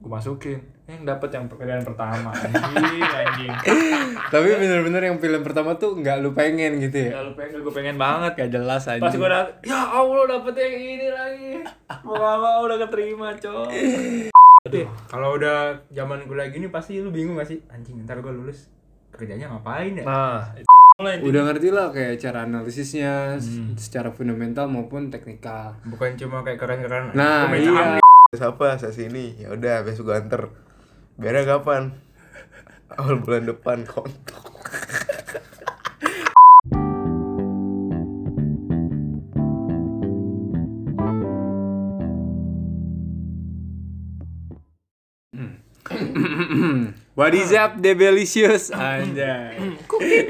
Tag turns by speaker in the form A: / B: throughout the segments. A: gue masukin Eh, yang dapat yang pekerjaan pertama anjing anjing
B: Tapi bener-bener yang film pertama tuh nggak lu pengen gitu ya.
A: ya lu pengen gue pengen banget
B: Gak jelas aja.
A: pas gue dapet ya allah dapet yang ini lagi mau gak mau udah keterima coy
C: Aduh, kalau udah zaman kuliah gini pasti lu bingung gak sih? Anjing, ntar gue lulus kerjanya ngapain ya?
A: nah itu mulai
B: Udah ngerti lah kayak cara analisisnya s- secara fundamental maupun teknikal.
C: Bukan cuma kayak keren-keren.
B: Nah,
C: Gua main
B: iya.
C: saham nih.
D: Siapa saya sini? Ya udah besok gua anter. Biarnya kapan? Awal bulan depan kontok.
B: What is up, Debelicious? Anjay.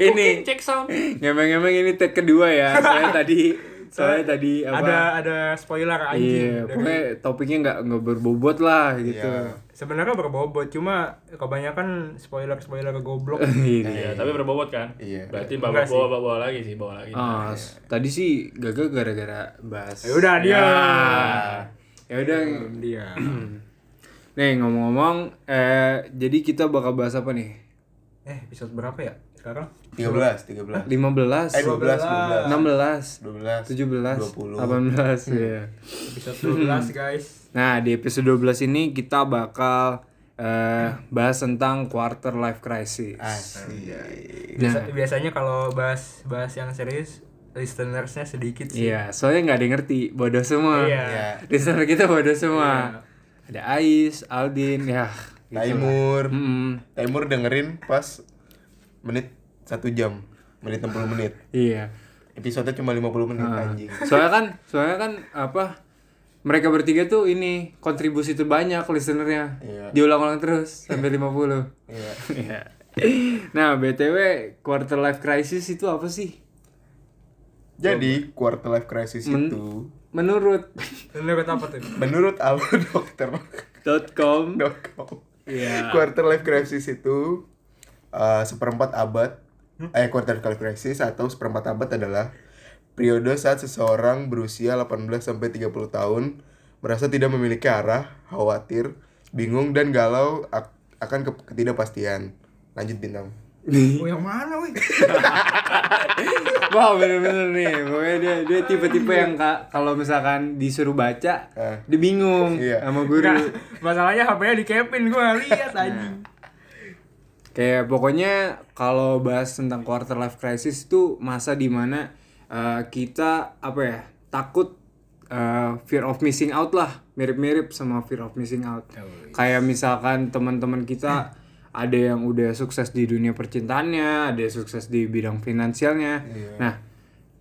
B: ini
A: cek sound
B: ngemeng-ngemeng ini take kedua ya. Soalnya tadi soalnya tadi apa?
C: Ada ada spoiler anjing. Dari-
B: Iya, pokoknya topiknya nggak nggak berbobot lah gitu.
D: Iya.
C: Sebenarnya berbobot, cuma kebanyakan spoiler-spoiler goblok.
B: Iya.
A: ya, tapi berbobot kan
D: Iya.
A: berarti bawa
C: Enggak sih.
A: bawa bawa lagi sih bawa lagi
B: Ah, s- tadi sih gagal gara-gara bahas.
C: Ya udah, dia.
B: Ya udah.
C: Dia.
B: Nih ngomong-ngomong, eh, jadi kita bakal bahas apa nih?
C: Eh, episode berapa ya sekarang?
D: 13,
B: 15,
D: 13. Eh 12,
B: 16,
D: 12. 12.
B: 17,
D: 20.
B: 18 ya.
C: Episode 12, guys.
B: Nah, di episode 12 ini kita bakal eh, bahas tentang quarter life crisis.
D: Asik.
C: Biasa- Biasanya kalau bahas bahas yang serius, listenersnya sedikit sih.
B: Iya, soalnya nggak ada yang ngerti, bodoh semua.
C: Iya.
D: Iya.
B: Listener kita bodoh semua. Ada Ais, Aldin, ya. gitu lah.
D: Timur.
B: Mm-mm.
D: Timur dengerin pas menit 1 jam. Menit 60 menit.
B: Iya.
D: Episodenya cuma 50 menit anjing.
B: Soalnya kan, soalnya kan apa? Mereka bertiga tuh ini kontribusi terbanyak listenernya.
D: Iya.
B: Diulang-ulang terus sampai 50.
D: Iya.
B: Iya. nah, BTW quarter life crisis itu apa sih?
D: Jadi quarter life crisis itu
B: Menurut
C: Menurut apa tuh?
D: menurut apa dokter
B: .com
D: dokter
B: Iya.
D: quarter life crisis itu uh, seperempat abad eh quarter life crisis atau seperempat abad adalah periode saat seseorang berusia 18 sampai 30 tahun merasa tidak memiliki arah, khawatir, bingung dan galau ak- akan ke- ketidakpastian. Lanjut bintang.
C: Oh, yang mana, wih?
B: Wah bener-bener nih Pokoknya dia, dia tipe-tipe yang ka- kalau misalkan disuruh baca
D: Eh.
B: Dia bingung
D: Iya.
B: sama guru
C: Nah, masalahnya HP-nya di capin gua lihat anjing.
B: Kayak pokoknya kalau bahas tentang quarter life crisis itu Masa dimana eh, kita apa ya Takut eh, fear of missing out lah Mirip-mirip sama fear of missing out Kayak misalkan teman-teman kita Ada yang udah sukses di dunia percintaannya Ada yang sukses di bidang finansialnya Nah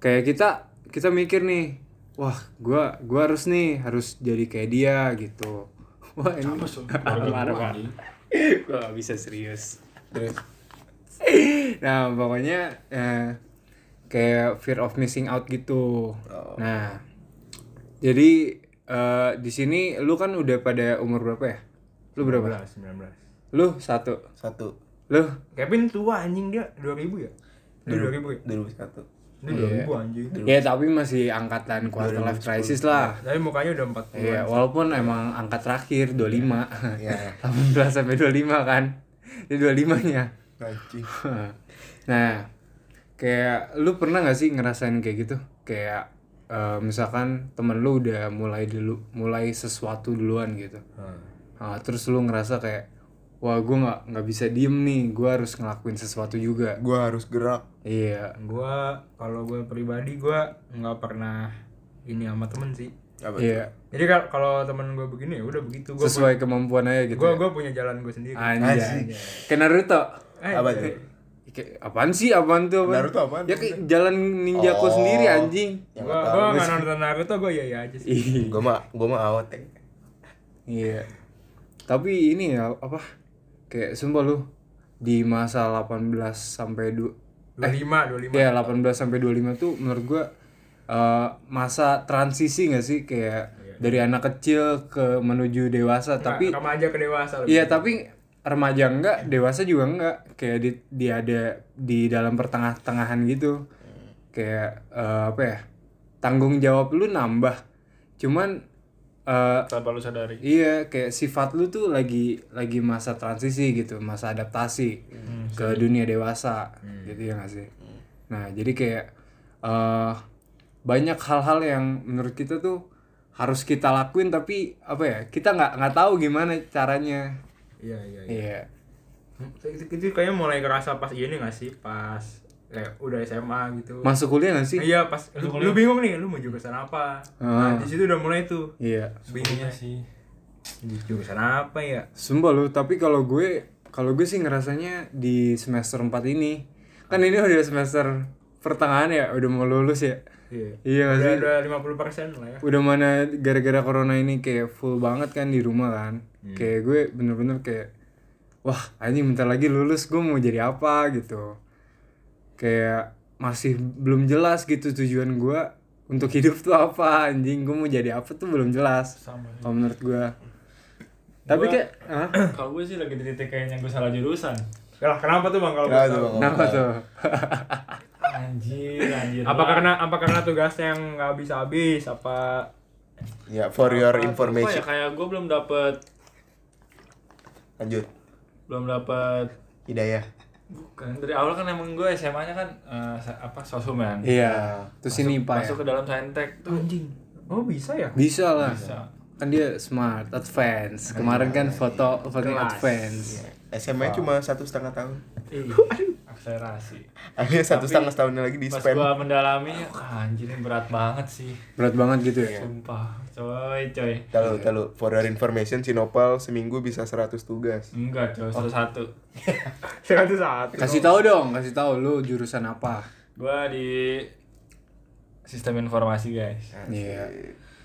B: kayak kita kita mikir nih wah gua gua harus nih harus jadi kayak dia gitu wah ini marah marah gua gak bisa serius
D: Terus
B: nah pokoknya eh, kayak fear of missing out gitu nah jadi eh, di sini lu kan udah pada umur berapa ya lu berapa
C: 19.
B: lu satu
D: satu
B: lu
C: Kevin tua anjing dia 2000 ya? Dia 2000 ya?
D: 2001.
C: Dia 2000 anjing.
B: ya tapi masih angkatan quarter life crisis lah
C: Tapi mukanya udah 40.
B: Iya, walaupun emang angka terakhir 25.
D: Iya.
B: 18 sampai 25 kan. Ini 25-nya.
D: Anjing.
B: nah, kayak lu pernah nggak sih ngerasain kayak gitu? Kayak eh, misalkan temen lu udah mulai dulu mulai sesuatu duluan gitu.
D: Hmm.
B: Ah, terus lu ngerasa kayak wah gue nggak nggak bisa diem nih gue harus ngelakuin sesuatu juga
D: Gua harus gerak.
B: iya
C: Gua kalau gue pribadi gua nggak pernah ini sama temen sih.
D: Apa?
B: iya
C: Jadi kal- kalau temen gue begini ya udah begitu gue
B: sesuai kemampuan aja gitu
C: gue gue punya jalan gue sendiri.
B: anjay kayak Naruto
C: Eh,
D: Apa tuh?
B: Kayak, apaan sih apaan tuh apaan?
D: Naruto apaan?
B: Ya kayak jalan ninjaku
D: Oh.
B: sendiri anjing.
D: Yang Iya.
C: Gua
D: gak
C: gua
D: tahu.
C: nggak nonton Naruto gue ya ya aja sih.
B: Ih,
D: Gua mah gua mah awet ya.
B: Iya. Tapi ini ya apa? Kayak sumpah lu di masa 18 sampai 2
C: 25 25.
B: ya 18 sampai 25 tuh menurut gua eh, masa transisi gak sih kayak dari anak kecil ke menuju dewasa tapi
C: remaja ke dewasa lebih.
B: Iya tapi remaja enggak, dewasa juga enggak. Kayak di, di ada di dalam pertengah-tengahan gitu. Kayak eh, apa ya? Tanggung jawab lu nambah. Cuman eh,
A: tanpa lu sadari
B: Iya, kayak sifat lu tuh lagi lagi masa transisi gitu, masa adaptasi ke dunia dewasa, gitu ya nggak sih? Nah, jadi kayak eh banyak hal-hal yang menurut kita tuh harus kita lakuin tapi apa ya kita nggak nggak tahu gimana caranya.
C: Iya iya iya.
B: Iya,
C: Hmm, Itu, itu kayaknya mulai kerasa pas ini nggak sih pas kayak udah SMA gitu.
B: masuk kuliah nggak sih?
C: Iya pas lu, lu bingung nih lu mau jurusan apa. Nah, di situ udah mulai tuh
B: Iya.
C: bingungnya
A: sih
C: jurusan apa ya?
B: Sumpah lu, tapi kalau gue kalau gue sih ngerasanya di semester 4 ini kan ini udah semester pertengahan ya, udah mau lulus ya.
C: Iya.
B: Iya nggak sih?
C: Udah udah 50% lah ya.
B: udah mana gara-gara corona ini kayak full banget kan di rumah kan
A: Hmm.
B: kayak gue bener-bener kayak wah anjing bentar lagi lulus gue mau jadi apa gitu kayak masih belum jelas gitu tujuan gue untuk hidup tuh apa anjing gue mau jadi apa tuh belum jelas
A: sama Oh,
B: kalau menurut gue tapi kayak Hah?
A: kalau gue sih lagi di titik kayaknya gue salah jurusan
C: Ya Lah kenapa tuh Bang kalau
D: Kenapa
C: boleh
D: tuh,
C: tahu?
D: Bang?
B: kenapa tuh
A: anjir anjir
C: Apa karena apa karena tugasnya yang nggak habis-habis apa
D: Ya, for your
A: Apa- apa
D: information.
A: ya, kayak gue belum dapet
D: Lanjut.
A: belum dapet
D: Hidayah.
A: bukan dari awal kan emang gue SMA nya kan eh, sa- apa sosum kan
B: iya terus ini pak ya?
A: masuk ke dalam saintek tuh
C: anjing. Oh bisa ya?
B: bisa lah
A: Bisa. Iya.
B: kan dia smart advance kemarin kan foto foto advance
D: SMA cuma satu setengah tahun.
A: Iya, akselerasi
D: Akhirnya satu
A: Tapi,
D: setengah tahunnya lagi di
A: pas
D: spam.
A: gue mendalami ah, anjir ini berat banget sih
B: berat banget gitu ya
A: Iya. sumpah coy coy
D: Tahu, tahu. For your information, Sinopal seminggu bisa 100 tugas.
A: enggak coy satu satu
C: Saya tuh saat.
B: Kasih tahu dong, kasih tahu lu jurusan apa.
A: gue di sistem informasi guys
B: Iya.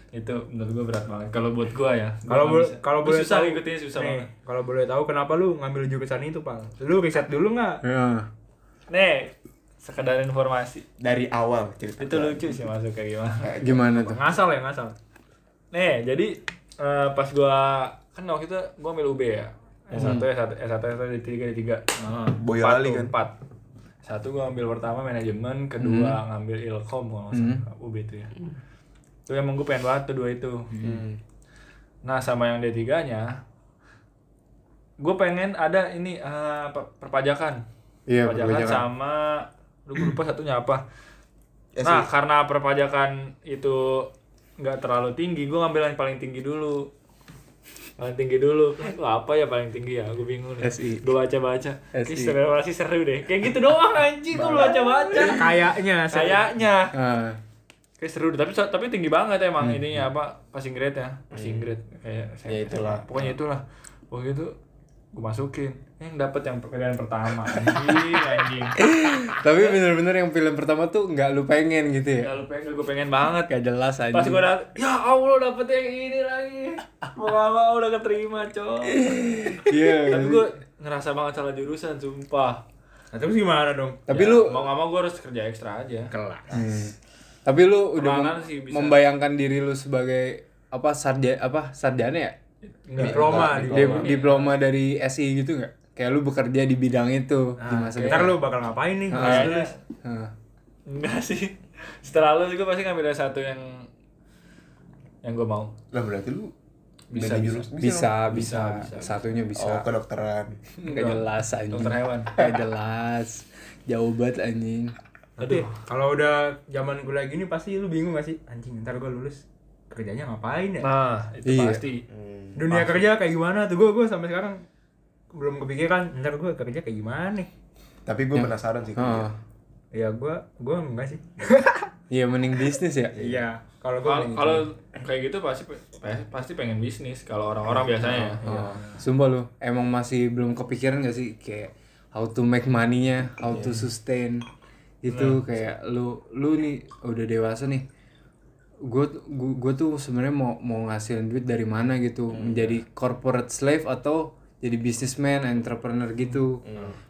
A: itu menurut gue berat banget kalau buat gue ya gua
C: Kalau
A: nggak
C: boleh
A: bisa.
C: kalau
A: Gua
C: boleh
A: susah
C: tahu
A: ngikutinnya susah
C: nih,
A: banget
C: Kalau boleh tahu kenapa lu ngambil jurusan itu, Pal? Lu riset dulu nggak?
B: Ya.
A: nih sekedar informasi
D: Dari awal cerita.
A: itu lucu sih masuk kayak gimana
B: Gimana tuh?
C: Ngasal ya, ngasal.
A: nih jadi eh, pas gue kan waktu itu gue ambil UB ya
C: Hmm.
A: S1 S1 S1 S1 D3 D3
D: Boyolali kan?
A: 4 satu gue ambil pertama manajemen kedua
C: Hmm.
A: ngambil ilkom kalau nggak salah, UB itu ya itu emang gue pengen banget tuh dua itu
C: Hmm.
A: Hmm. nah sama yang D3 nya gue pengen ada ini eh, per- perpajakan
B: Iya,
A: perpajakan,
B: perpajakan.
A: sama lu gua lupa satunya apa
D: Ya
A: nah karena perpajakan itu nggak terlalu tinggi gue ngambil yang paling tinggi dulu paling tinggi dulu itu apa ya paling tinggi ya gue bingung nih
B: SI.
A: gue baca baca
B: SI.
A: Ih, seru deh kayak gitu doang anjing gue baca baca
C: Kayaknya sih.
A: kayaknya
B: Ah,
A: Kayak seru tapi so- tapi tinggi banget emang ininya apa passing grade ya passing grade kayak
D: Ya
A: saya-
D: itulah.
A: pokoknya itulah waktu itu gue masukin yang dapat yang pekerjaan pertama anjing anjing
B: Tapi bener-bener yang film pertama tuh nggak lu pengen gitu ya.
A: kalau pengen gue pengen banget kan,
B: Gak jelas aja.
A: pas gue dapet ya allah dapet yang ini lagi mau gak mau udah keterima coy
B: Iya.
A: tapi gue ngerasa banget salah jurusan sumpah
C: Nah, terus gimana dong?
B: Tapi
A: Ya,
B: lu
A: mau gak mau gue harus kerja ekstra aja
C: Kelas.
B: tapi lu udah
A: Perlahan
B: mem-
A: sih bisa.
B: membayangkan diri lu sebagai apa sarja apa sarjana ya?
A: Enggak.
C: Diploma,
B: Di-
C: diploma.
B: diploma dari SI gitu nggak? Kayak lu bekerja di bidang itu
A: Ah,
B: di
C: Nah,
B: masa
C: ntar lu bakal ngapain nih?
A: kayaknya
B: Ah.
A: enggak sih setelah lu gue pasti ngambil yang satu yang yang gue mau
D: Lah berarti lu
A: Bisa,
D: beda
A: bisa.
D: jurus.
B: Bisa,
A: Bisa,
B: bisa,
A: bisa.
B: Satunya bisa.
D: Oh, kedokteran.
B: Gak jelas anjing.
A: Dokter hewan.
B: Gak jelas. Jauh banget anjing.
A: aduh
C: Kalau udah zaman kuliah gini pasti lu bingung gak sih? Anjing, ntar gua lulus kerjanya ngapain ya?
A: nah itu
B: Iya.
A: pasti
D: Hmm.
C: Dunia kerja kayak gimana tuh? Gua gua sampai sekarang belum kepikiran ntar gua kerja kayak gimana nih.
D: Tapi gue penasaran sih.
B: Ah.
C: Ya gua gua enggak sih.
B: Iya mending bisnis ya.
C: Iya, kalau gua kayak
A: kalau
C: gitu.
A: kalau kayak gitu pasti pe- pasti pengen bisnis kalau orang-orang biasanya ya.
B: Oh, Sumpah lu, emang masih belum kepikiran gak sih kayak how to make money-nya, how to sustain gitu kayak lu lu nih udah dewasa nih. Gue gue tuh sebenarnya mau mau ngasilin duit dari mana gitu, menjadi corporate slave atau jadi businessman, entrepreneur gitu.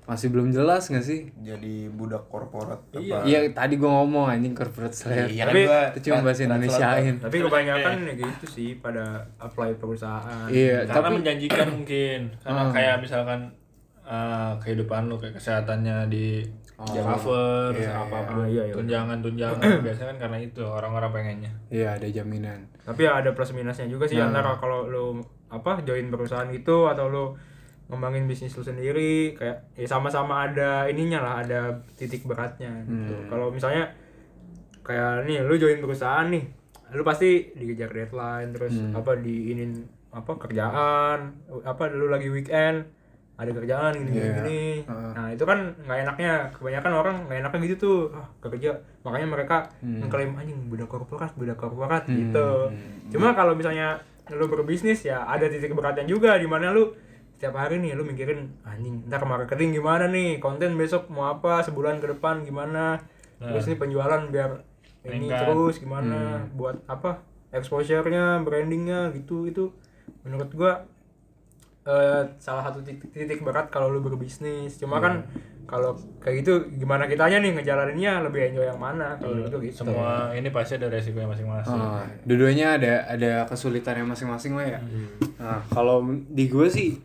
B: Masih belum jelas gak sih?
D: Jadi budak korporat apa?
B: Iya, tadi gue ngomong anjing corporate slave.
D: Iya, kan
B: Tapi
D: gua
B: itu cuma bahasa
D: trans-
B: Indonesiain.
C: gitu. tapi kebanyakan ya gitu sih pada apply perusahaan.
B: Iya,
A: karena
B: tapi Hmm.
A: menjanjikan mungkin karena kayak misalkan eh, kehidupan lu kayak kesehatannya di
B: Oh,
A: cover
B: Iya, Hmm.
A: apa
C: iya. Ah, iya, iya.
A: tunjangan-tunjangan biasanya kan karena itu orang-orang pengennya.
B: Iya ada jaminan.
C: tapi ya ada plus minusnya juga sih antara kalau lu apa join perusahaan gitu atau lu ngembangin bisnis lu sendiri kayak ya sama-sama ada ininya lah ada titik beratnya gitu. kalau misalnya kayak nih lu join perusahaan nih lu pasti dikejar deadline terus apa diinin apa kerjaan apa lu lagi weekend ada kerjaan gini gini, gini. nah itu kan nggak enaknya kebanyakan orang nggak enaknya gitu tuh ah, kerja makanya mereka mengklaim anjing beda korporat beda korporat gitu cuma kalau misalnya lu berbisnis ya ada titik beratnya juga di mana lu setiap hari nih lu mikirin anjing ntar marketing gimana nih konten besok mau apa sebulan ke depan gimana terus nih penjualan biar ini
A: Nah. Meningkat. Hmm.
C: terus gimana buat apa exposure-nya brandingnya gitu itu menurut gua eh, salah satu titik, titik berat kalau lu berbisnis cuma kan
A: Hmm.
C: kalau kayak gitu gimana kitanya nih ngejalaninnya lebih enjoy yang mana kalau gitu gitu
A: Iya, Semua ini pasti ada resikonya
D: Iya.
A: masing-masing.
B: Ah, dua-duanya ada ada kesulitannya masing-masing lah ya.
D: Hmm.
B: Nah, kalau di gue sih,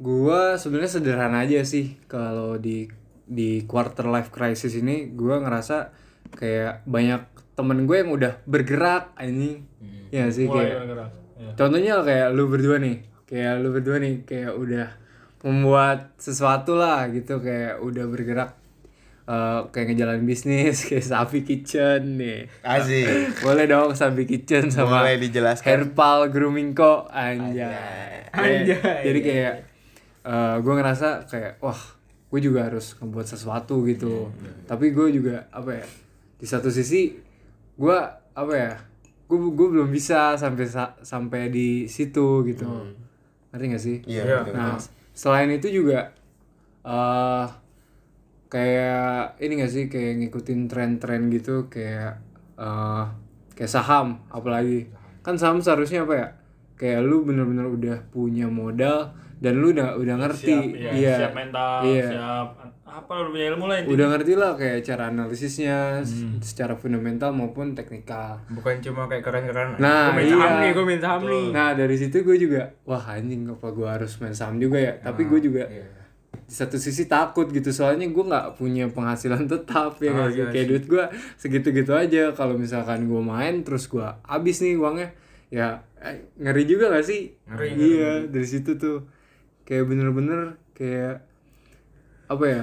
B: gue sebenarnya sederhana aja sih. Kalau di di quarter life crisis ini, gue ngerasa kayak banyak temen gue yang udah bergerak ini,
D: Hmm.
B: ya sih
A: Mulai
B: kayak.
A: bergerak. Ya.
B: Contohnya kayak lu berdua nih, kayak lu berdua nih kayak udah membuat sesuatu lah gitu kayak udah bergerak eh, kayak ngejalanin bisnis kayak Sapi Kitchen nih.
D: Asik.
B: Boleh dong Sapi Kitchen sama
D: Boleh dijelaskan.
B: Herbal Grooming Co anjay.
C: Anjay.
B: Kayak- Jadi kayak gue ngerasa kayak wah, gue juga harus ngebuat sesuatu gitu. Tapi gue juga apa ya? Di satu sisi gue apa ya? Gue gue belum bisa sampai sa- sampai di situ gitu. Ngerti gak sih?
D: Iya.
C: Iya.
D: betul.
B: Nah, selain itu juga eh kayak ini gak sih kayak ngikutin tren-tren gitu kayak eh kayak saham apalagi kan saham seharusnya apa ya kayak lu bener-bener udah punya modal dan lu udah udah ngerti
A: Siap, ya,
B: iya
A: siap mental,
B: Iya.
A: siap Ya, apa lu punya ilmu lah intinya.
B: udah ngerti lah kayak cara analisisnya s-
A: Hmm.
B: secara fundamental maupun teknikal
C: bukan cuma kayak keren-keren
B: Nah,
C: gue main saham
B: iya.
C: nih gue main saham nih
B: nah dari situ gue juga wah anjing apa gue harus main saham juga ya
C: Ah,
B: tapi gue juga
C: iya.
B: di satu sisi takut gitu soalnya gue nggak punya penghasilan tetap ya
C: Ah,
B: nggak
C: iya
B: sih? kayak duit gue segitu-gitu aja kalau misalkan gue main terus gue habis nih uangnya ya eh, ngeri juga gak sih iya dari situ tuh kayak bener-bener kayak apa ya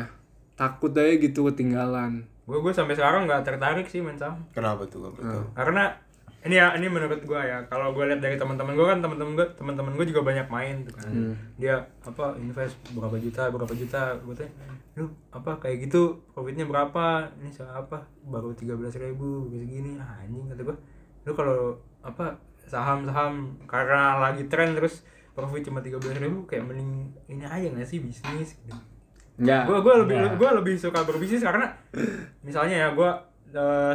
B: takut aja gitu ketinggalan
C: gue gue sampai sekarang nggak tertarik sih main saham
D: Kenapa tuh? Ya, Kenapa tuh?
C: karena ini ya ini menurut gua ya kalau gua lihat dari teman-teman gua kan teman-teman gua teman-teman gua juga banyak main tuh kan dia apa invest berapa juta berapa juta gue tanya lu apa kayak gitu profitnya berapa ini soal apa baru tiga belas ribu gini ah, anjing kata gua lu kalau apa saham-saham karena lagi tren terus profit cuma tiga belas ribu kayak mending ini aja nggak sih bisnis gitu
B: nggak
C: gue gue lebih
A: Iya.
C: gue lebih suka berbisnis karena misalnya ya gue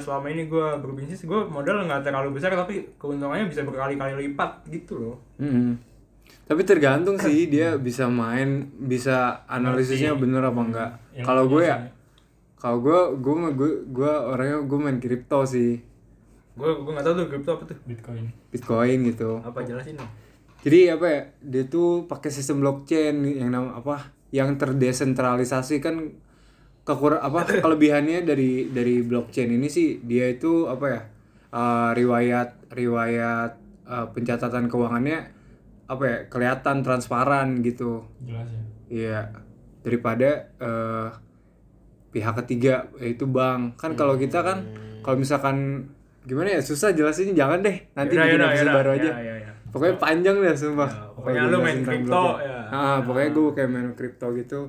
C: selama ini gue berbisnis gue modal nggak terlalu besar tapi keuntungannya bisa berkali-kali lipat gitu loh
B: Mm-mm. Tapi tergantung sih dia bisa main, bisa analisisnya bener apa enggak.
A: Yang
B: Kalau gue ya, kalau gue gue gue gue orangnya gue main kripto sih,
C: gue gue nggak tahu tuh crypto apa tuh
A: Bitcoin.
B: Bitcoin gitu.
C: apa jelasin dong
B: Jadi apa ya? Dia tuh pakai sistem blockchain yang nama apa? Yang terdesentralisasi kan kekur apa kelebihannya dari dari blockchain ini sih dia itu apa ya? eh, riwayat riwayat eh, pencatatan keuangannya apa ya? kelihatan transparan gitu.
A: Jelas ya.
B: Iya, daripada eh, pihak ketiga yaitu bank. Kan kalau kita kan
C: Hmm.
B: kalau misalkan gimana ya susah jelasinnya jangan deh. Nanti
C: Yaudah,
B: bikin
C: yaudah,
B: episode
C: yaudah.
B: baru
C: Ya,
B: aja.
C: ya, ya.
B: Pokoknya panjang deh sumpah.
C: pokoknya
B: Kalau
C: lu
B: jelasin
C: main
B: tentang
C: kripto,
B: blockchain.
C: ya.
B: Ah, pokoknya gue kayak main kripto gitu.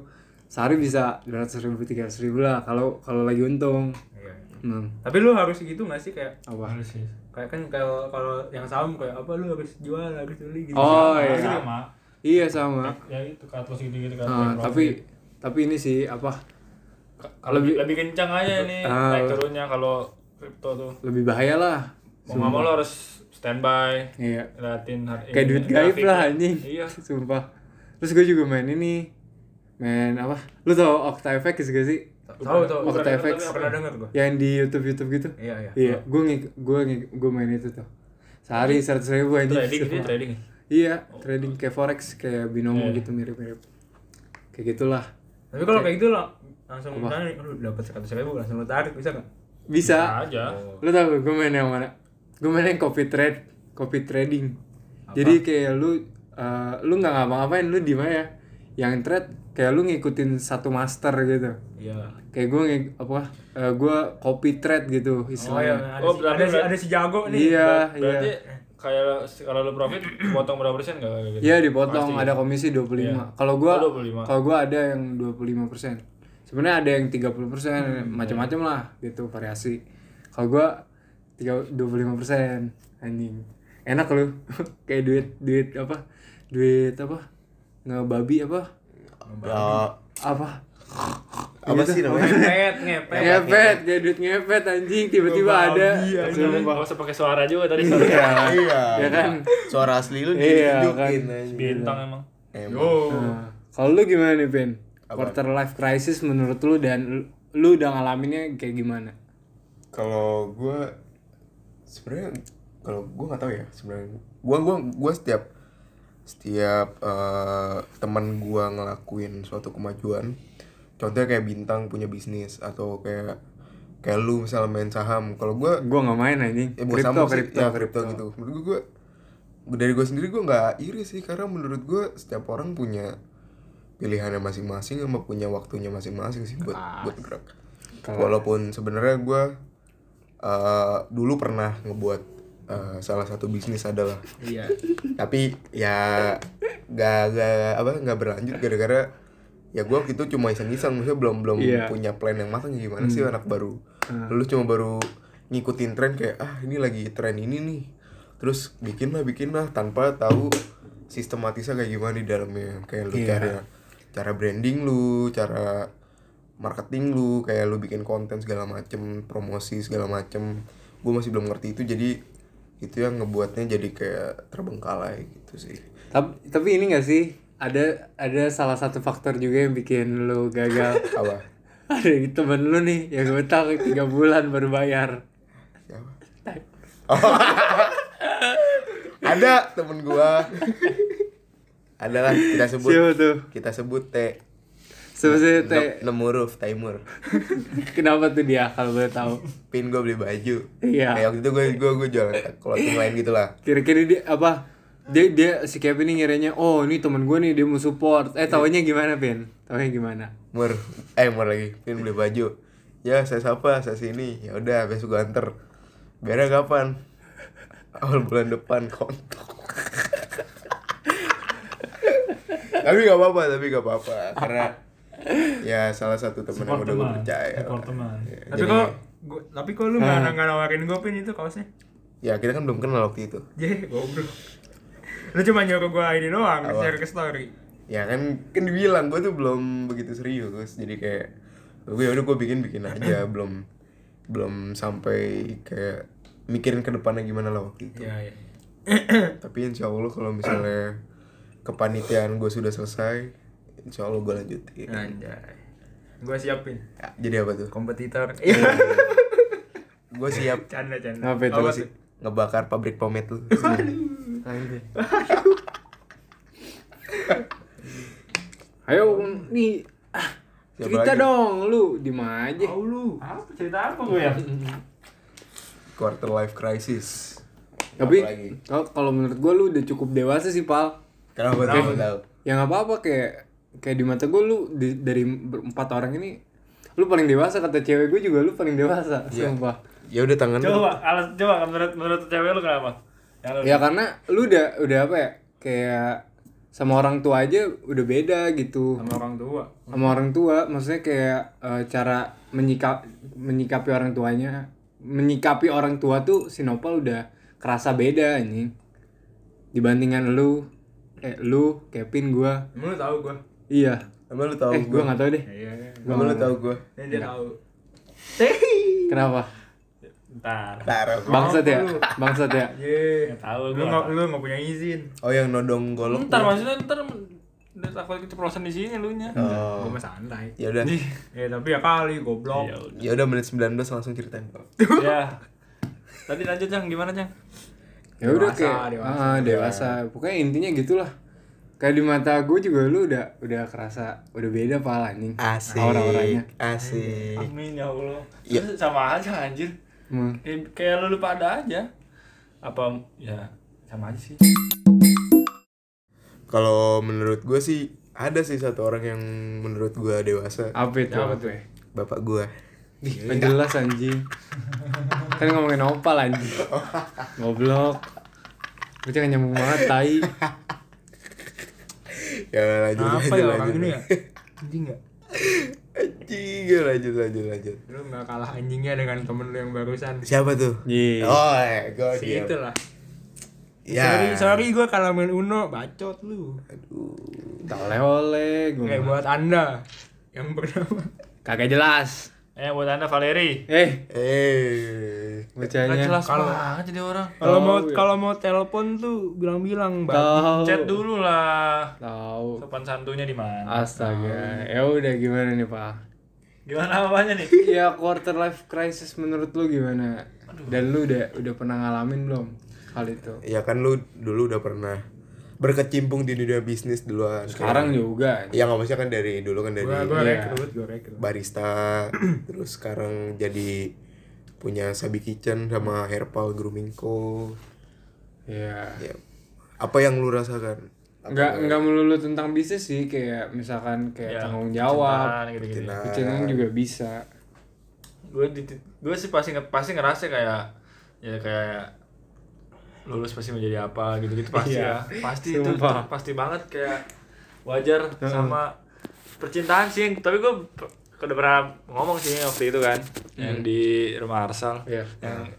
B: Sehari bisa 200 ribu, 300 ribu lah kalau kalau lagi untung. Hmm,
C: Iya. tapi lu harus gitu nggak sih kayak
B: apa?
A: Harus sih.
C: kayak kan kalau kalau yang saham kayak apa lu harus jual harus beli gitu
B: Oh
A: Sama,
B: iya,
A: sama.
B: iya sama.
A: Ya itu cut loss gitu-gitu
C: Eh,
A: cut
B: Ah,
A: loss,
B: tapi tapi ini sih apa
A: profit. lebih lebih kencang aja ini
B: Ah.
A: naik turunnya kalau kripto tuh.
B: lebih bahaya lah.
A: Mau nggak mau lo harus standby.
B: Iya.
A: Liatin hari
B: kayak
A: ini,
B: duit gaib
A: grafik.
B: lah anjing
A: Iya.
B: sumpah terus gue juga main ini main apa lu tau Octafx gak sih
C: tahu tahu
B: Waktu
C: pernah-
B: TFX.
C: pernah denger gue
B: yang di YouTube YouTube gitu
C: iya iya
B: iya gue gue gue main itu tuh sehari seratus ribu anjing
A: Trading Oh, ini
B: sumpah.
A: trading.
B: iya
A: Iya.
B: trading kayak forex kayak binomo gitu mirip mirip kayak gitulah
C: tapi kalau kayak gitu lah langsung misalnya lu dapat seratus ribu langsung lu tarik bisa nggak
B: Bisa.
A: aja
B: Lu tau gue main yang mana? Gue main yang copy trade, copy trading. Jadi kayak lu eh, lu nggak ngapa-ngapain, lu di mana ya? Yang trade kayak lu ngikutin satu master gitu.
C: iya
B: Kayak gue ngik, apa? eh, gue copy trade gitu istilahnya.
C: ada,
A: Oh,
C: si,
A: berarti-
C: ada, si, ada si jago nih
B: Iya, iya.
A: berarti kayak kalau lu profit potong berapa persen nggak kayak gitu
B: Iya dipotong ada komisi 25. Kalau gua
A: Oh, 25.
B: kalau gua ada yang 25%. Sebenarnya ada yang 30% macam-macam lah gitu variasi. Kalau gua tiga- 25% anjing. Enak lu. Kayak duit duit apa? Duit apa? Ngebabi apa?
D: Ya,
B: Apa?
D: apa sih Iya namanya?
C: ngepet ngepet
B: Ngepet, kayak duit ngepet anjing tiba-tiba ada.
A: nggak usah pakai suara juga tadi suara
D: Iya. kan.
B: Ya kan?
D: Suara asli lu
B: Iya,
D: ditunjukin aja.
A: bintang emang
D: Emang.
C: oh
B: Nah, Kalau lu gimana nih, Pin? Quarter life crisis menurut lu dan lu- lu udah ngalaminnya kayak gimana?
D: kalau gua sebenarnya kalau gua nggak tahu ya sebenarnya gua gua gua setiap setiap eh, teman gua ngelakuin suatu kemajuan contohnya kayak bintang punya bisnis atau kayak kayak lu misalnya main saham kalau gua
B: Gua nggak main anjing.
D: ya bukan saham sih, ya kripto gitu menurut gua gua- dari gua sendiri gua nggak iri sih karena menurut gua setiap orang punya pilihannya masing-masing sama punya waktunya masing-masing sih buat buat gerak walaupun sebenarnya gua eh, dulu pernah ngebuat eh, salah satu bisnis adalah
C: iya
D: tapi ya gak, gak apa nggak berlanjut gara-gara ya gua waktu itu cuma iseng-iseng maksudnya belum belum
B: Iya.
D: punya plan yang matang ya gimana sih anak baru lulus cuma baru ngikutin tren kayak ah ini lagi tren ini nih terus bikin lah bikin lah tanpa tahu sistematisnya kayak gimana di dalamnya kayak lu cara cara branding lu cara marketing lu kayak lu bikin konten segala macem promosi segala macem gue masih belum ngerti itu jadi itu yang ngebuatnya jadi kayak terbengkalai gitu sih
B: Tapi, tapi ini gak sih ada ada salah satu faktor juga yang bikin lu gagal.
D: apa
B: ada temen lu nih yang utang tiga bulan baru bayar.
D: siapa Oh. ada temen gua adalah kita sebut
B: Siapa tuh?
D: kita sebut T
B: Sebesar teh
D: Ne- enam huruf Taimur
B: kenapa tuh dia kalau boleh tahu?
D: pin gue beli baju
B: Iya.
D: kayak waktu itu gue gue gue jualan clothing lain gitu lah
B: Kira-kira dia apa? Dia dia si Kevin ini ngiranya, "Oh, ini temen gue nih dia mau support." Eh,
D: Iya.
B: taunya gimana, Pin? Taunya gimana?
D: Mur, eh mur lagi, pin beli baju. Ya saya siapa, saya sini. Ya udah, besok gua anter. Biarnya kapan? Awal bulan depan kontok. tapi gak apa-apa, tapi gak apa-apa. Karena ya salah satu temen yang
A: Support
D: udah gue
A: teman,
D: percaya.
A: support teman.
D: Ya,
C: tapi
D: jadi-
C: kok gua- tapi kok lu nggak nggak nawarin gue pin itu kaosnya
D: ya kita kan belum kenal waktu itu.
C: Jeh, goblok. Lu cuma nyuruh gua ini doang, share ke story.
D: Ya kan, kan dibilang gue tuh belum begitu serius. Jadi kayak gue udah gue bikin bikin aja, belum belum sampai kayak mikirin ke depannya gimana lah waktu itu.
C: Iya, iya.
D: tapi insya Allah kalau misalnya kepanitiaan gue sudah selesai insya Allah gue lanjutin
C: Iya. Anjay. Gua siapin
D: Ya, jadi apa tuh
C: kompetitor. Iya,
D: gue siap
C: canda canda.
B: Apa itu?
D: Gua si- ngebakar pabrik pomade lu Anjing.
B: Ayo nih ah,
D: Siapa
B: cerita
D: lagi?
B: dong lu di mana aja.
C: Tahu lu.
A: apa cerita apa gue ya
D: quarter life crisis
B: Tapi
D: Apa lagi?
B: kalau- kalau menurut gua lu udah cukup dewasa sih, Pal.
D: kenapa tuh Nggak tahu
B: Ya nggak apa-apa kayak kayak di mata gua lu di- dari ber- empat orang ini lu paling dewasa kata cewek gua juga lu paling dewasa, sumpah.
D: ya udah tangan lu
A: coba alas coba menurut menurut cewek lu kenapa yang lu
B: Ya karena lu udah udah apa ya? Kayak sama orang tua aja udah beda gitu.
C: Sama orang tua.
B: sama orang tua maksudnya kayak eh, cara menyikap menyikapi orang tuanya menyikapi orang tua tuh sinopal udah kerasa beda anjing dibandingkan lu eh lu Kevin gua
C: Emang lu tahu gua?
B: iya
D: emang lu tahu
B: eh
D: gue
B: gua nggak tahu deh
C: Iya.
D: emang lu tahu gue
C: Ini dia tahu.
B: kenapa
A: ntar
D: taruh
B: bangsat ya bangsat ya
C: Ye.
A: nggak tahu
C: Lu
A: gue
C: enggak lu enggak punya izin.
D: oh yang nodong golok
A: ntar
D: tuh.
A: maksudnya ntar udah takut keceplosan di sini lu nya
D: oh.
C: Gua mah santai.
D: ya udah
C: Ya tapi ya kali goblok.
A: ya udah.
D: ya udah menit 19 langsung ceritain
A: ya tadi lanjut cang gimana cang
B: ya udah
C: Dewasa,
B: kayak
C: dewasa.
B: ah, dewasa pokoknya intinya gitulah Kayak di mata gue juga lu udah udah kerasa udah beda pala anjing.
D: Asik.
B: Aura-auranya.
D: Asik.
A: Amin ya Allah.
D: Iya.
A: Terus sama aja anjir.
B: Hmm.
A: Kayak, kayak lu lupa ada aja. Apa ya sama aja sih.
D: Kalau menurut gue sih ada sih satu orang yang menurut gue dewasa.
B: Apa itu?
C: Apa tuh?
D: Bapak gue.
B: Ih, kan jelas anjing. kan ngomongin opal anjing. Goblok. Gue jangan nyambung banget tai.
D: Ya lanjut
C: Apa
D: lanjut
C: ya orang
D: lanjut.
C: ini ya? Anjing ya?
D: Anjing, lanjut lanjut lanjut.
C: Lu gak kalah anjingnya dengan temen lu yang barusan
D: Siapa tuh?
B: Iya.
D: Oh, gue
C: Si itu lah
D: Ya.
C: Sorry, sorry gue kalah main Uno, bacot lu
B: Oleh-oleh gue.
C: Kayak buat anda Yang bernama
B: Kagak jelas.
A: Eh buat anda Valeri.
B: Eh,
D: Eh.
A: Gak
B: bacanya.
A: jelas banget jadi orang.
C: Kalau
B: Tahu
C: mau
B: ya.
C: kalau mau telepon tuh bilang-bilang, Bang.
B: Tahu.
A: Chat dulu lah.
B: Tahu.
A: Sopan santunya di mana?
B: Astaga. Ya udah gimana nih, Pak?
A: Gimana apanya nih?
B: Ya quarter life crisis menurut lu gimana? Dan lu udah udah pernah ngalamin belum hal itu?
D: Ya kan lu dulu udah pernah berkecimpung di dunia bisnis duluan.
B: Sekarang juga. Iya.
D: Ya nggak maksudnya kan dari dulu kan dari
C: Gua gua rekrut, gua rekrut.
D: barista, terus sekarang jadi punya Sabi Kitchen sama Herbal Grooming Co.
B: Ya.
D: Ya. Apa yang lu rasakan?
B: Enggak enggak melulu tentang bisnis sih kayak misalkan
C: Iya.
B: kayak tanggung jawab,
A: gitu gitu.
D: Nah,
B: kecintaan juga bisa.
A: gue di gue sih pasti nge- pasti ngerasa kayak ya kayak lulus pasti menjadi apa gitu gitu pasti
B: Iya.
A: ya pasti itu
B: Sumpah.
A: pasti banget kayak wajar sama percintaan sih yang- tapi gue udah pernah ngomong sih waktu itu kan yang
B: Hmm.
A: di rumah Arsal
B: Iya.
A: yang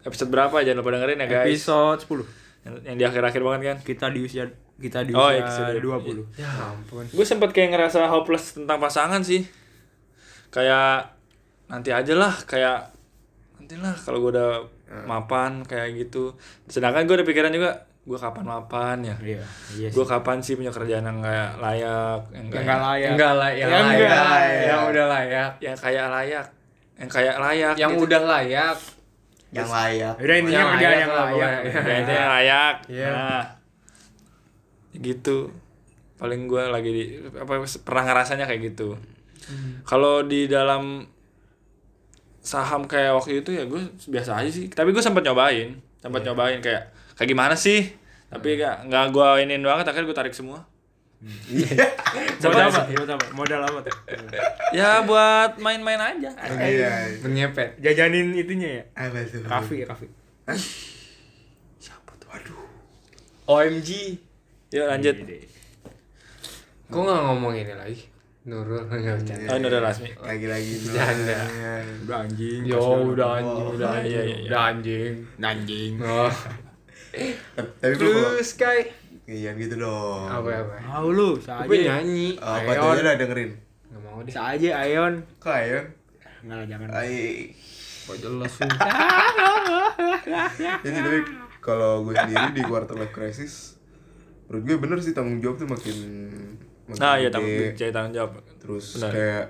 A: episode berapa jangan lupa dengerin ya guys
C: Episode 10.
A: yang, yang di akhir-akhir banget kan
C: Kita di usia kita di
A: Oh,
C: usia
A: episode
C: 20.
B: Ya ampun.
A: gue sempet kayak ngerasa hopeless tentang pasangan sih kayak nanti aja lah kayak nantilah kalau gue udah mapan kayak gitu sedangkan gue ada pikiran juga gue kapan mapan ya
C: Iya. Iya.
A: gue kapan sih punya kerjaan yang kayak layak yang kayak
C: Enggak layak.
B: Enggak lah, yang
C: Yang
B: layak,
C: enggak layak.
B: yang udah layak,
A: yang kayak layak yang kayak layak
B: yang
A: gitu.
B: udah layak.
D: Yang layak.
C: Udah intinya
B: Yang
C: kerjaan
B: layak
C: yang
B: lah,
C: layak.
B: pokoknya.
A: Ya, itu yang layak
B: Iya.
A: nah gitu paling gue lagi di apa pernah ngerasanya kayak gitu
C: Hmm.
A: kalau di dalam saham kayak waktu itu ya gue biasa aja sih tapi gue sempat nyobain sempat
C: Iya.
A: nyobain kayak kayak gimana sih
C: Hmm.
A: tapi nggak nggak gue iniin banget akhirnya gue tarik semua
C: Iya. Buat apa? Buat apa? Modal apa tuh?
A: ya buat main-main aja
D: Iya.
B: Menyepet.
C: Jajanin itunya ya.
D: Apa tuh? Iya.
C: Raffi, Raffi.
B: OMG.
C: Iya,
A: yuk lanjut
B: Kok nggak ngomong ini lagi? Nurul nggak bercanda.
A: oh ini udah resmi
D: Lagi-lagi lu.
B: Bercanda.
C: Udah anjing.
B: Yo udah anjing, udah
A: iya,
B: anjing,
A: iya, iya.
B: udah anjing.
C: Anjing.
B: Oh.
D: Tapi- Tapi lu
B: Terus Sky.
D: Iya gitu dong. Oh,
B: Apa ya, apa?
C: Tahu lu, saja.
B: Gue nyanyi.
D: Apa
B: Ayon.
D: tuh udah dengerin?
B: Nggak mau deh.
C: Saja Ayon.
D: Kok Ayon?
C: Enggak lah, jangan.
D: Ay.
B: Kok jelas
D: Jadi tapi kalau gue sendiri di quarter life crisis menurut gue bener sih tanggung jawab tuh makin makin
A: nah
C: Iya.
D: gede.
A: ya tanggung jadi tanggung jawab
D: terus
A: Benar.
D: kayak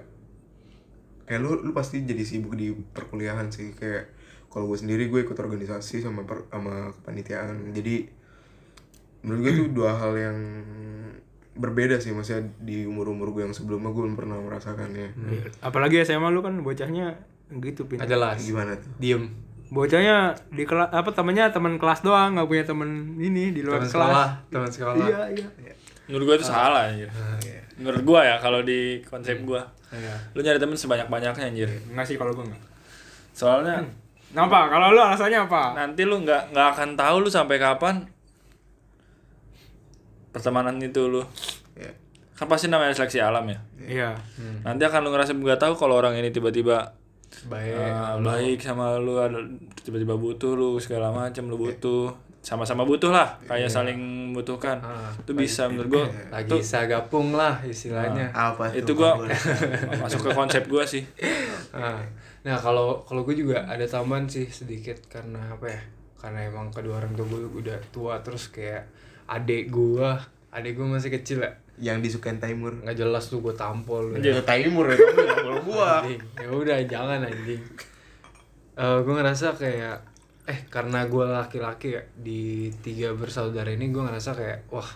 D: kayak lu lu pasti jadi sibuk di perkuliahan sih kayak kalau gue sendiri gue ikut organisasi sama per, sama kepanitiaan jadi menurut gue tuh dua hal yang berbeda sih maksudnya di umur umur gue yang sebelumnya gue belum pernah merasakannya
A: Iya.
C: Apalagi SMA lu kan bocahnya gitu pin.
B: Nggak jelas.
D: gimana tuh
B: Diem.
C: Bocahnya di kelas apa temennya teman kelas doang, nggak punya temen ini di luar
B: Teman
C: kelas.
B: sekolah, teman sekolah.
C: Iya, iya.
A: menurut gue itu salah anjir
C: Ah,
A: menurut gue ya kalau di
C: Hmm.
A: konsep gue
B: Iya.
A: lu nyari temen sebanyak banyaknya anjir
C: Enggak sih kalau gue enggak.
A: soalnya
C: Hmm. Kenapa? Kalau lu alasannya apa?
A: nanti lu nggak nggak akan tahu lu sampai kapan pertemanan itu lu
D: ya
A: kan pasti namanya seleksi alam ya
C: Iya.
A: nanti akan lu ngerasa nggak tahu kalau orang ini tiba-tiba
C: Iya,
B: Baik.
A: eh, baik sama lu ada tiba-tiba butuh lu segala
C: Hmm.
A: macam lu butuh sama-sama butuh lah
C: Iya.
A: kayak saling membutuhkan
B: Ah,
A: itu bisa menurut gua
B: Lagi sagapung lah istilahnya.
D: apa
A: itu gua masuk ke konsep gua sih
B: Ah. Nah kalau kalau gue juga ada tambahan sih sedikit karena apa ya? Karena emang kedua orang tua gue udah tua terus kayak adik gue, adik gue masih kecil ya.
D: yang disukain Taimur
B: Nggak jelas tuh gue tampol. udah.
D: ya Taimur ya kamu nggak boleh gua
B: Anjing. ya udah jangan anjing Eh gue ngerasa kayak eh karena gue laki-laki ya, di tiga bersaudara ini gue ngerasa kayak wah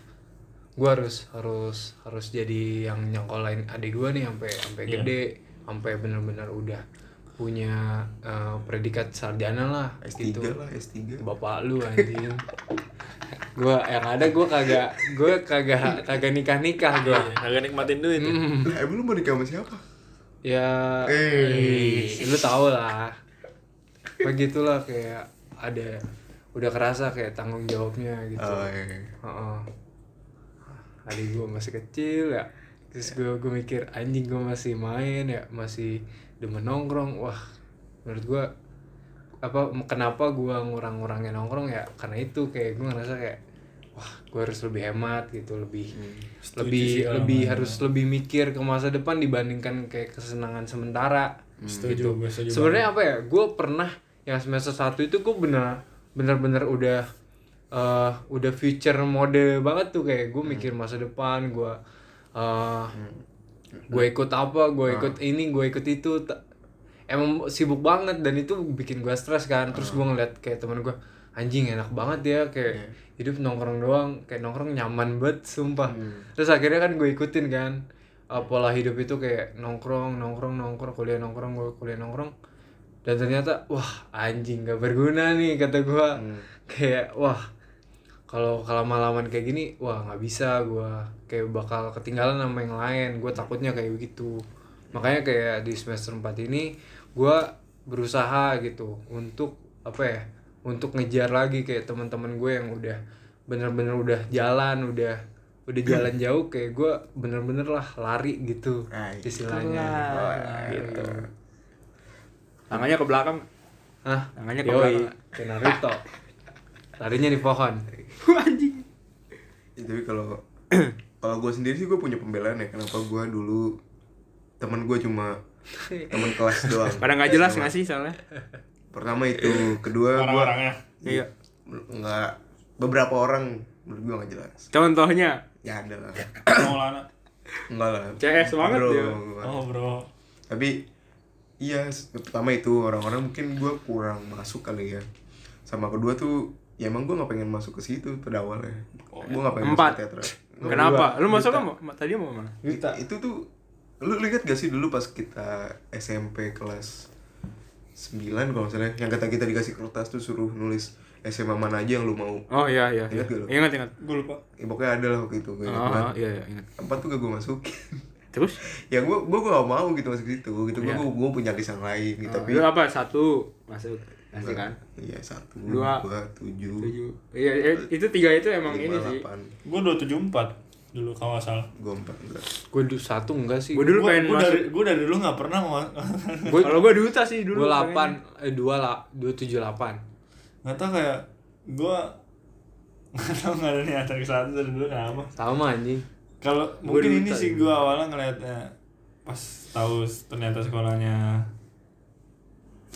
B: gue harus harus harus jadi yang nyongkolain adik gue nih sampai sampai gede sampai benar-benar udah punya eh, predikat sarjana lah
D: S3
B: gitu
D: lah S3
B: bapak lu anjing gue yang ada gue kagak gue kagak kagak nikah nikah gue
A: Iya.
C: Agak nikmatin duit.
A: Hmm.
C: ya?
D: lah emang Eh, lu mau nikah sama siapa?
B: ya
D: Eh.
B: eh, lu tau lah begitulah kayak ada udah kerasa kayak tanggung jawabnya gitu
D: Oh, iya.
B: Heeh. Adik gue masih kecil ya. Terus gue gue mikir anjing gue masih main ya, masih demen nongkrong. Wah, menurut gue apa kenapa gue ngurang-ngurangin nongkrong ya? Karena itu kayak gue ngerasa kayak wah, gue harus lebih hemat gitu, lebih lebih
A: Hmm, sih kalau
B: lebih
A: mana.
B: harus lebih mikir ke masa depan dibandingkan kayak kesenangan sementara
A: Hmm.
B: Gitu.
A: Setuju, gue setuju
B: sebenarnya apa ya gue pernah yang semester satu itu gue bener bener bener udah eh udah future mode banget tuh kayak gue mikir masa depan gue eh gue ikut apa gue ikut ini gue ikut itu Ta- emang sibuk banget dan itu bikin gue stres kan terus gue ngeliat kayak teman gue anjing enak banget ya kayak hidup nongkrong doang kayak nongkrong nyaman banget sumpah terus akhirnya kan gue ikutin kan eh, pola hidup itu kayak nongkrong nongkrong nongkrong kuliah nongkrong gue kuliah nongkrong dan ternyata wah anjing gak berguna nih kata gue kayak wah kalau lama-laman kayak gini wah nggak bisa gua kayak bakal ketinggalan sama yang lain gue takutnya kayak begitu makanya kayak di semester 4 ini gua berusaha gitu untuk apa ya untuk ngejar lagi kayak teman-teman gue yang udah bener-bener udah jalan udah udah jalan jauh kayak gua bener-bener lah lari gitu
D: Nah,
B: istilahnya
D: Oh, iya.
B: gitu
C: Tangannya ke belakang.
B: Hah?
C: Tangannya ke
B: Yoi,
C: belakang.
B: kayak Naruto larinya di pohon
D: Ya, tapi kalau kalau gue sendiri sih gue punya pembelaan ya kenapa gue dulu teman gue cuma teman kelas doang
C: Pada nggak jelas nggak sih soalnya.
D: pertama itu kedua gue
A: orang-orangnya
C: Iya.
D: nggak beberapa orang menurut gue nggak jelas
C: Contohnya
D: ya ada lah
A: Maulana
D: enggak lah
C: CS banget
D: Bro,
C: dia.
D: bukan.
A: oh bro
D: tapi iya s- pertama itu orang-orang mungkin gue kurang masuk kali ya sama kedua tuh ya emang gue nggak pengen masuk ke situ pada awalnya gue nggak pengen
C: Oh, Empat.
D: masuk ke teater
C: Oh, kenapa? Lu masuk kan tadi mau mana?
A: Duta.
D: itu tuh lu, lu ingat gak sih dulu pas kita SMP kelas 9 kalau misalnya yang kata kita dikasih kertas tuh suruh nulis SMA mana aja yang lu mau
C: Oh iya iya. iya.
D: Ingat gak lu?
C: Ingat ingat.
A: gue lupa
D: ya, pokoknya ada lah waktu itu gue ingat
C: Oh,
D: banget.
C: iya iya ingat.
D: empat tuh gak gue masukin
C: Terus?
D: ya gue gue gak mau gitu masuk situ gitu gue gue gue punya lisan lain gitu tapi
C: Iya. Ah. Lu apa? Satu masuk. Masih kan?
D: iya satu
C: Dua.
D: dua tujuh
C: Tujuh. Iya, iya, itu tiga itu emang ini
D: lima
C: sih.
D: delapan
A: gue dua tujuh empat dulu kalau nggak salah
D: gue empat belas
B: gue satu enggak sih
C: Gue dulu
A: gue
C: pengen masuk.
A: dari gue dari dulu nggak pernah mau
B: gue
C: Kalau gue duta sih dulu.
B: gue delapan eh dua lah dua tujuh delapan
A: nggak tau kayak gue nggak tau nggak ada niatan ke sana dari dulu kenapa
B: sama anjing
A: kalau mungkin ini sih gue awalnya ngeliatnya pas tahu ternyata sekolahnya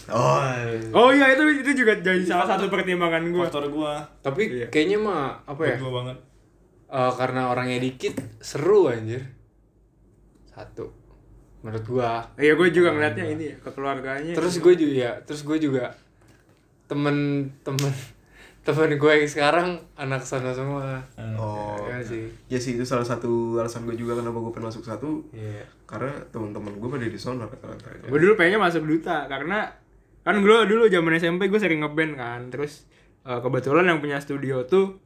D: oh
C: pengennya. Oh iya itu itu juga jadi salah satu pertimbangan gue.
A: faktor gue
B: tapi kayaknya mah apa ya
A: gue banget
B: eh, karena orangnya dikit seru anjir satu menurut gue
C: Iya gue juga ngeliatnya ini ya, kekeluargaannya.
B: terus gue juga ya, terus gue juga temen temen temen gue yang sekarang anak sana semua
A: Eh.
D: oh
C: Iya
B: ya sih
D: ya sih itu salah satu alasan gue juga kenapa gue pengen masuk satu
B: Iya.
D: karena teman-teman gue pada di sana rata-rata
C: Gue dulu pengennya masuk duta karena kan gue dulu zaman SMP gue sering ngeband kan. Terus eh, kebetulan yang punya studio tuh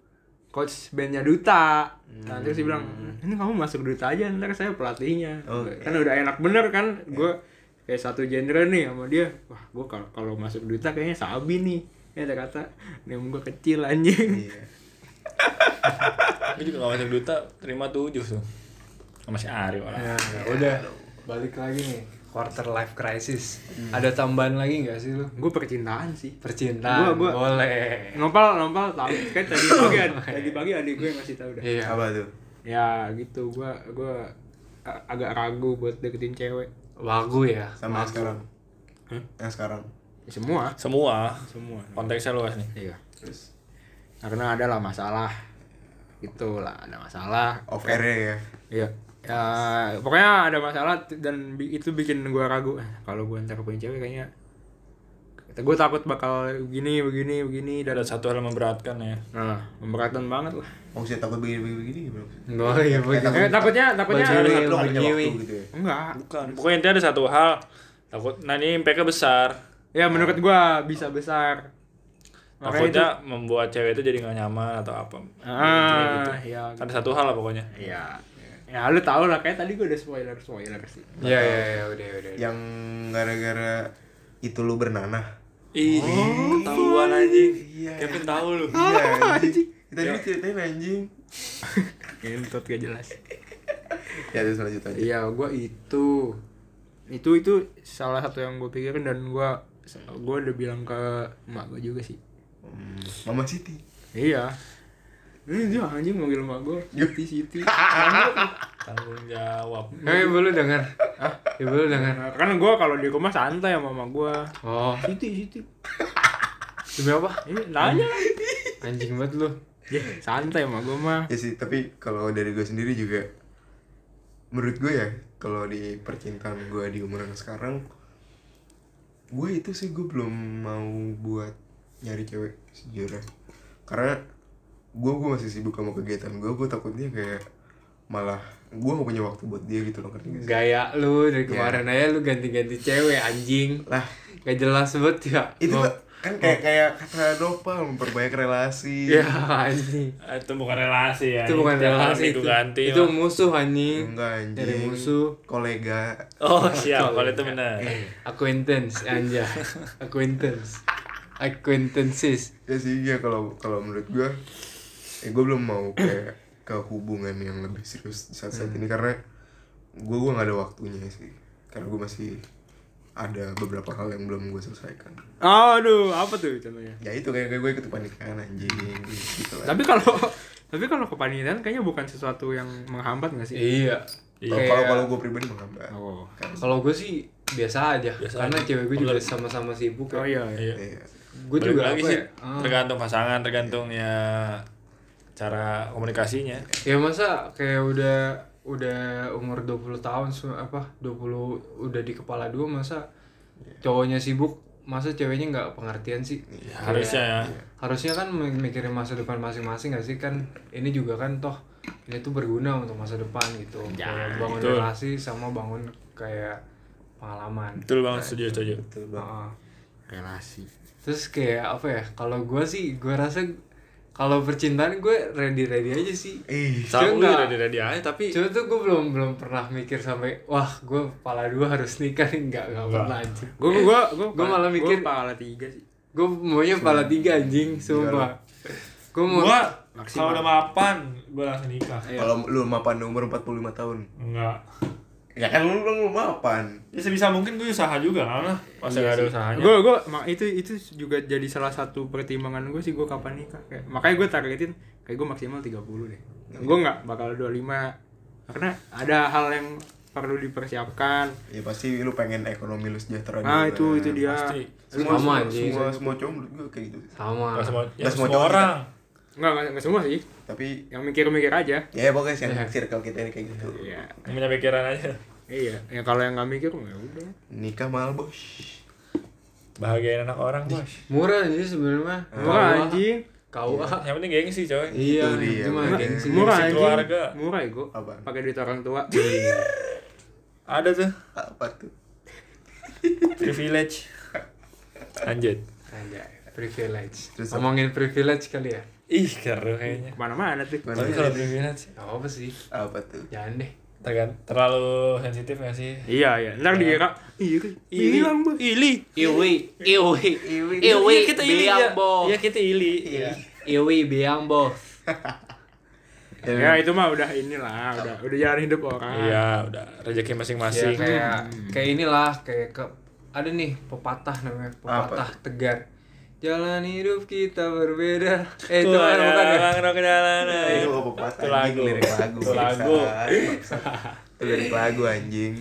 C: coach bandnya duta. Nah, terus dia bilang, ini kamu masuk duta aja ntar saya pelatihnya. Kan udah enak bener kan gue kayak satu genre nih sama dia. Wah gue kalau kalau masuk duta kayaknya sabi nih. Ya dia kata, nemu gue kecil anjing.
D: iya
A: gue juga nggak masuk duta terima tujuh tuh sama si Ari orang
B: Nah, udah balik lagi nih quarter life crisis ada tambahan lagi nggak sih lu
C: Gue percintaan sih.
B: percintaan
C: Gua- gua-
B: boleh
C: Nopal, nopal tahu. Kan tadi pagi, tadi pagi adik gue ngasih tahu dah.
B: iya
D: apa tuh
C: Ya gitu, gua gua a- agak ragu buat deketin cewek.
B: wagu ya
D: sama yang sekarang yang sekarang
C: Ya, Semua,
A: semua
C: semua.
A: konteksnya luas nih
C: Iya.
D: terus
C: Karena ada lah masalah. Itulah ada masalah.
D: off air ya
C: Iya. Ya, pokoknya ada masalah t- dan bi- itu bikin gua ragu. Eh, Kalau gua ntar punya cewek kayaknya gue takut bakal begini begini begini dan
A: Ada satu hal memberatkan ya.
C: nah memberatkan banget lah
D: Oh, maksudnya takut begini-begini gimana maksudnya?
B: Oh iya, Bu.
C: Eh,
D: kan-
C: takutnya takutnya
B: Baju-
D: Takut lo gak punya
B: begini.
D: waktu gitu ya
C: enggak
A: Pokoknya intinya ada satu hal takut nah ini impact-nya besar.
C: ya menurut gua bisa besar makanya itu
A: Takutnya membuat cewek itu jadi nggak nyaman atau apa.
C: ah ya
A: Ada satu hal lah pokoknya.
C: ya ya lu tau lah kayak tadi gua udah spoiler spoiler sih
B: Iya, iya, iya, udah, udah.
D: yang gara-gara itu lu bernanah Oh,
A: Ih, ketahuan anjing. Kevin tahu lu.
D: iya anjing kita dulu ceritain anjing
C: kentut gak jelas
D: ya terus lanjut aja
C: Iya, gua itu itu itu salah satu yang gue pikirin dan gua gua udah bilang ke emak gue juga sih.
D: Hmm, Mama Siti
C: Iya. Ini dia anjing manggil emak gue. Siti Siti.
A: Tanggung jawab.
B: Eh, ibu lu denger. Hah? Ibu lu denger.
C: Nah, kan gua kalau di rumah santai sama emak gua.
B: Oh,
C: Siti Siti.
B: demi apa?
C: Ini nanya.
B: Anjing banget lu.
C: Ya, santai sama gua mah.
D: ya sih tapi kalau dari gue sendiri juga menurut gue ya kalau di percintaan gue di umuran sekarang gue itu sih gue belum mau buat nyari cewek sejujurnya karena gue gue masih sibuk sama kegiatan gue gue takutnya kayak malah gue gak punya waktu buat dia gitu loh ngerti gak sih?
B: Gaya lu dari kemarin aja lu ganti-ganti cewek anjing.
D: Ya. lah
B: Gak jelas banget ya.
D: itu
B: Oh.
D: kan kayak kayak kata Nopal memperbanyak relasi
B: Ya anjing.
A: Eh, Itu bukan relasi ya.
B: Itu bukan
A: Tiap hari
B: relasi.
A: minggu
B: Itu,
A: ganti.
B: itu
A: Mak.
B: musuh anjing.
D: enggak anjing
B: Dari musuh.
D: kolega
A: Oh, siap. Kalau itu benar.
B: Acquaintance anjay. Acquaintance. Acquaintances.
D: ya sih ya kalau kalau menurut gue eh gue belum mau kayak ke hubungan yang lebih serius di saat saat ini
C: Hmm.
D: karena gue gue nggak ada waktunya sih karena gue masih ada beberapa hal yang belum gue selesaikan
C: Aduh, apa tuh contohnya?
D: ya itu kayak kayak gue ikut pernikahan anjing gitu lah
C: Tapi kalau tapi kalau kepanitiaan kayaknya bukan sesuatu yang menghambat gak sih?
B: Iya.
D: kalau kalau- kalau gue pribadi menghambat
C: Oh.
D: kan
B: Kalau gue sih biasa aja.
A: Biasa
B: karena
A: aja.
B: cewek gue juga
A: Pengen-
B: sama-sama sibuk.
C: Oh iya. iya.
A: Iya.
D: Iya.
B: Gue
A: Balik
B: juga
A: lagi
B: apa
A: sih
B: ya? Ah.
A: tergantung pasangan tergantung ya cara komunikasinya
B: Ya masa kayak udah udah umur 20 tahun se- apa 20 udah di kepala dua masa
A: Iya.
B: cowoknya sibuk masa ceweknya nggak pengertian sih
A: harusnya ya
B: harusnya kan mi- mikirin masa depan masing-masing gak sih kan ini juga kan toh ini tuh berguna untuk masa depan gitu Kayak bangun
A: Ya, betul.
B: relasi sama bangun kayak pengalaman
A: betul banget setuju setuju
B: Heeh.
C: Relasi.
B: terus kayak apa ya kalau gua sih gua rasa kalau percintaan gue ready ready aja sih
D: eh
B: Cuma
A: tahu
B: nggak-
A: udah dari aja tapi
B: Cuma tuh gue belum belum pernah mikir sampai wah gue kepala dua harus nikah nggak nggak pernah anjing.
C: Gue gue gue
B: Gua malah mikir-
C: kepala tiga sih.
B: Gue maunya kepala tiga anjing, sumpah. Gue mau
A: gua kalau udah mapan gua langsung nikah
C: Iya.
D: kalau lu mapan di umur 45 tahun
A: enggak
D: ya kan lu lu mapan
A: ya sebisa mungkin gue usaha juga kan? lah masa nggak ada usahanya
C: gue gue itu itu juga jadi salah satu pertimbangan gue sih gue kapan nikah kayak makanya gue targetin kayak gue maksimal 30 deh gue nggak bakal 25 karena ada hal yang perlu dipersiapkan
D: ya pasti lu pengen ekonomi lu
C: nah
D: sejahtera juga. kan.
C: itu itu dia
A: pasti
D: semua
B: Sama,
D: semua,
B: anjing.
D: semua, semua cowok menurut gue kayak gitu
B: sama.
A: Nggak semua, ya,
D: Nggak semua
A: semua
D: cowok
A: orang
C: nggak nggak- nggak semua sih
D: tapi
C: yang mikir-mikir aja
D: ya pokoknya sih yang circle kita ini kayak gitu
C: iya
A: yang punya pikiran aja
C: iya ya kalau yang nggak mikir ya udah
D: nikah mahal bos
A: bahagiain anak orang bos
B: Murah anjing sebenarnya.
C: murah anjing
B: Kau ah.
A: yang penting gengsi coy
B: Iya,
D: Itu dia,
B: cuma
D: bener.
B: gengsi.
C: murah
A: si
C: anjing
A: keluarga.
C: murah ya gue
D: Apaan?
C: pakai duit orang tua
A: ada tuh
D: apa tuh
A: privilege lanjut
B: Anjay, privilege.
D: Terus apa?
B: Ngomongin privilege kali ya.
A: ih seru kayaknya
C: kemana-mana tuh
D: Mana
A: tapi
D: ya?
A: kalau privilege
B: Gak apa sih,
D: apa tuh
B: jangan deh.
A: tergan- terlalu sensitif nggak sih
C: iya iya ntar dikira iya kan hilang bos
A: ili
B: Iwi, iwi,
A: Iya,
B: iwi,
A: kita ili ya.
B: biambo,
A: Iya, kita ili. Iya.
B: iwi, biambo.
C: Ya
D: Iya.
C: itu mah udah inilah, udah udah jalan hidup orang.
A: Iya, udah rezeki
B: Ya,
A: masing-masing.
B: kayak kayak inilah kayak ke ada nih pepatah namanya pepatah tegar jalan hidup kita berbeda eh itu kan bukan ya
D: Eh,
A: Itu
D: gua apa patah
A: Iya. Itu
D: anjing,
A: lagu.
D: lirik lagu.
A: Itu lagu.
D: Siksa. Itu lirik lagu anjing.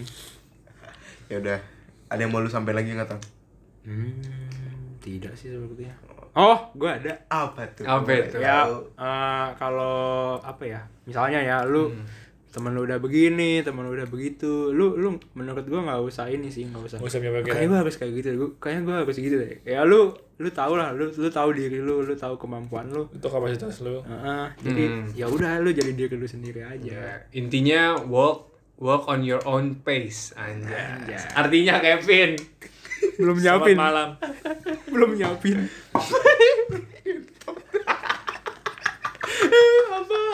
D: Ya udah, ada yang mau lu sampai lagi nggak Tam?
C: Tidak sih
A: ya.
C: sepertinya. Hmm. Oh, gua ada.
D: Apa tuh?
B: Apa itu?
D: Ya.
C: Eh, kalau apa ya? Misalnya ya lu temen lu udah begini temen lu udah begitu lu lu menurut gua nggak usah ini sih nggak usah
A: Gak usah punya pikiran.
C: kayaknya gua harus kayak gitu gua kayaknya gua harus gitu deh ya lu lu tau lah lu lu tahu diri lu lu tahu kemampuan lu
A: Itu kapasitas lu.
C: Heeh, jadi ya udah lu jadi diri lu sendiri aja
B: Ya, Iya. Intinya walk walk on your own pace anjay. Artinya Kevin.
C: belum
A: Selamat
C: nyiapin
A: malam.
C: belum nyiapin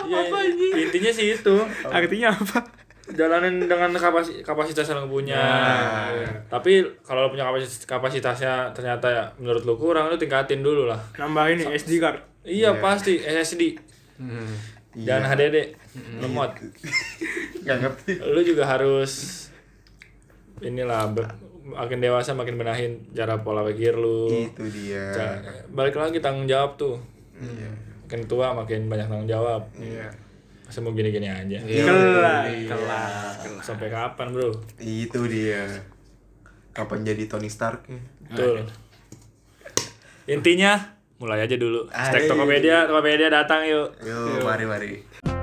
A: Ya,
C: Iya,
A: intinya sih itu.
C: artinya apa
A: Jalanin dengan kapasi- kapasitas yang lu punya. Nah. Iya. Tapi kalau lu punya kapasitas kapasitasnya ternyata ya, menurut lu kurang, lu tingkatin dulu lah.
C: nambahin nih SD card
A: Iya, pasti SSD dan HDD lemot.
D: Gak ngerti.
A: Lu juga harus inilah be- makin dewasa makin benahin cara pola pikir lu.
D: Itu dia.
A: Ca- balik lagi tanggung jawab tuh makin tua makin banyak tanggung jawab iya semua gini-gini aja
C: Iya. kelar kelar
A: sampai kapan bro
D: Itu dia. Kapan jadi Tony Stark? ya?
A: betul intinya mulai aja dulu Stack Tokopedia Tokopedia datang yuk
D: Yo, mari mari.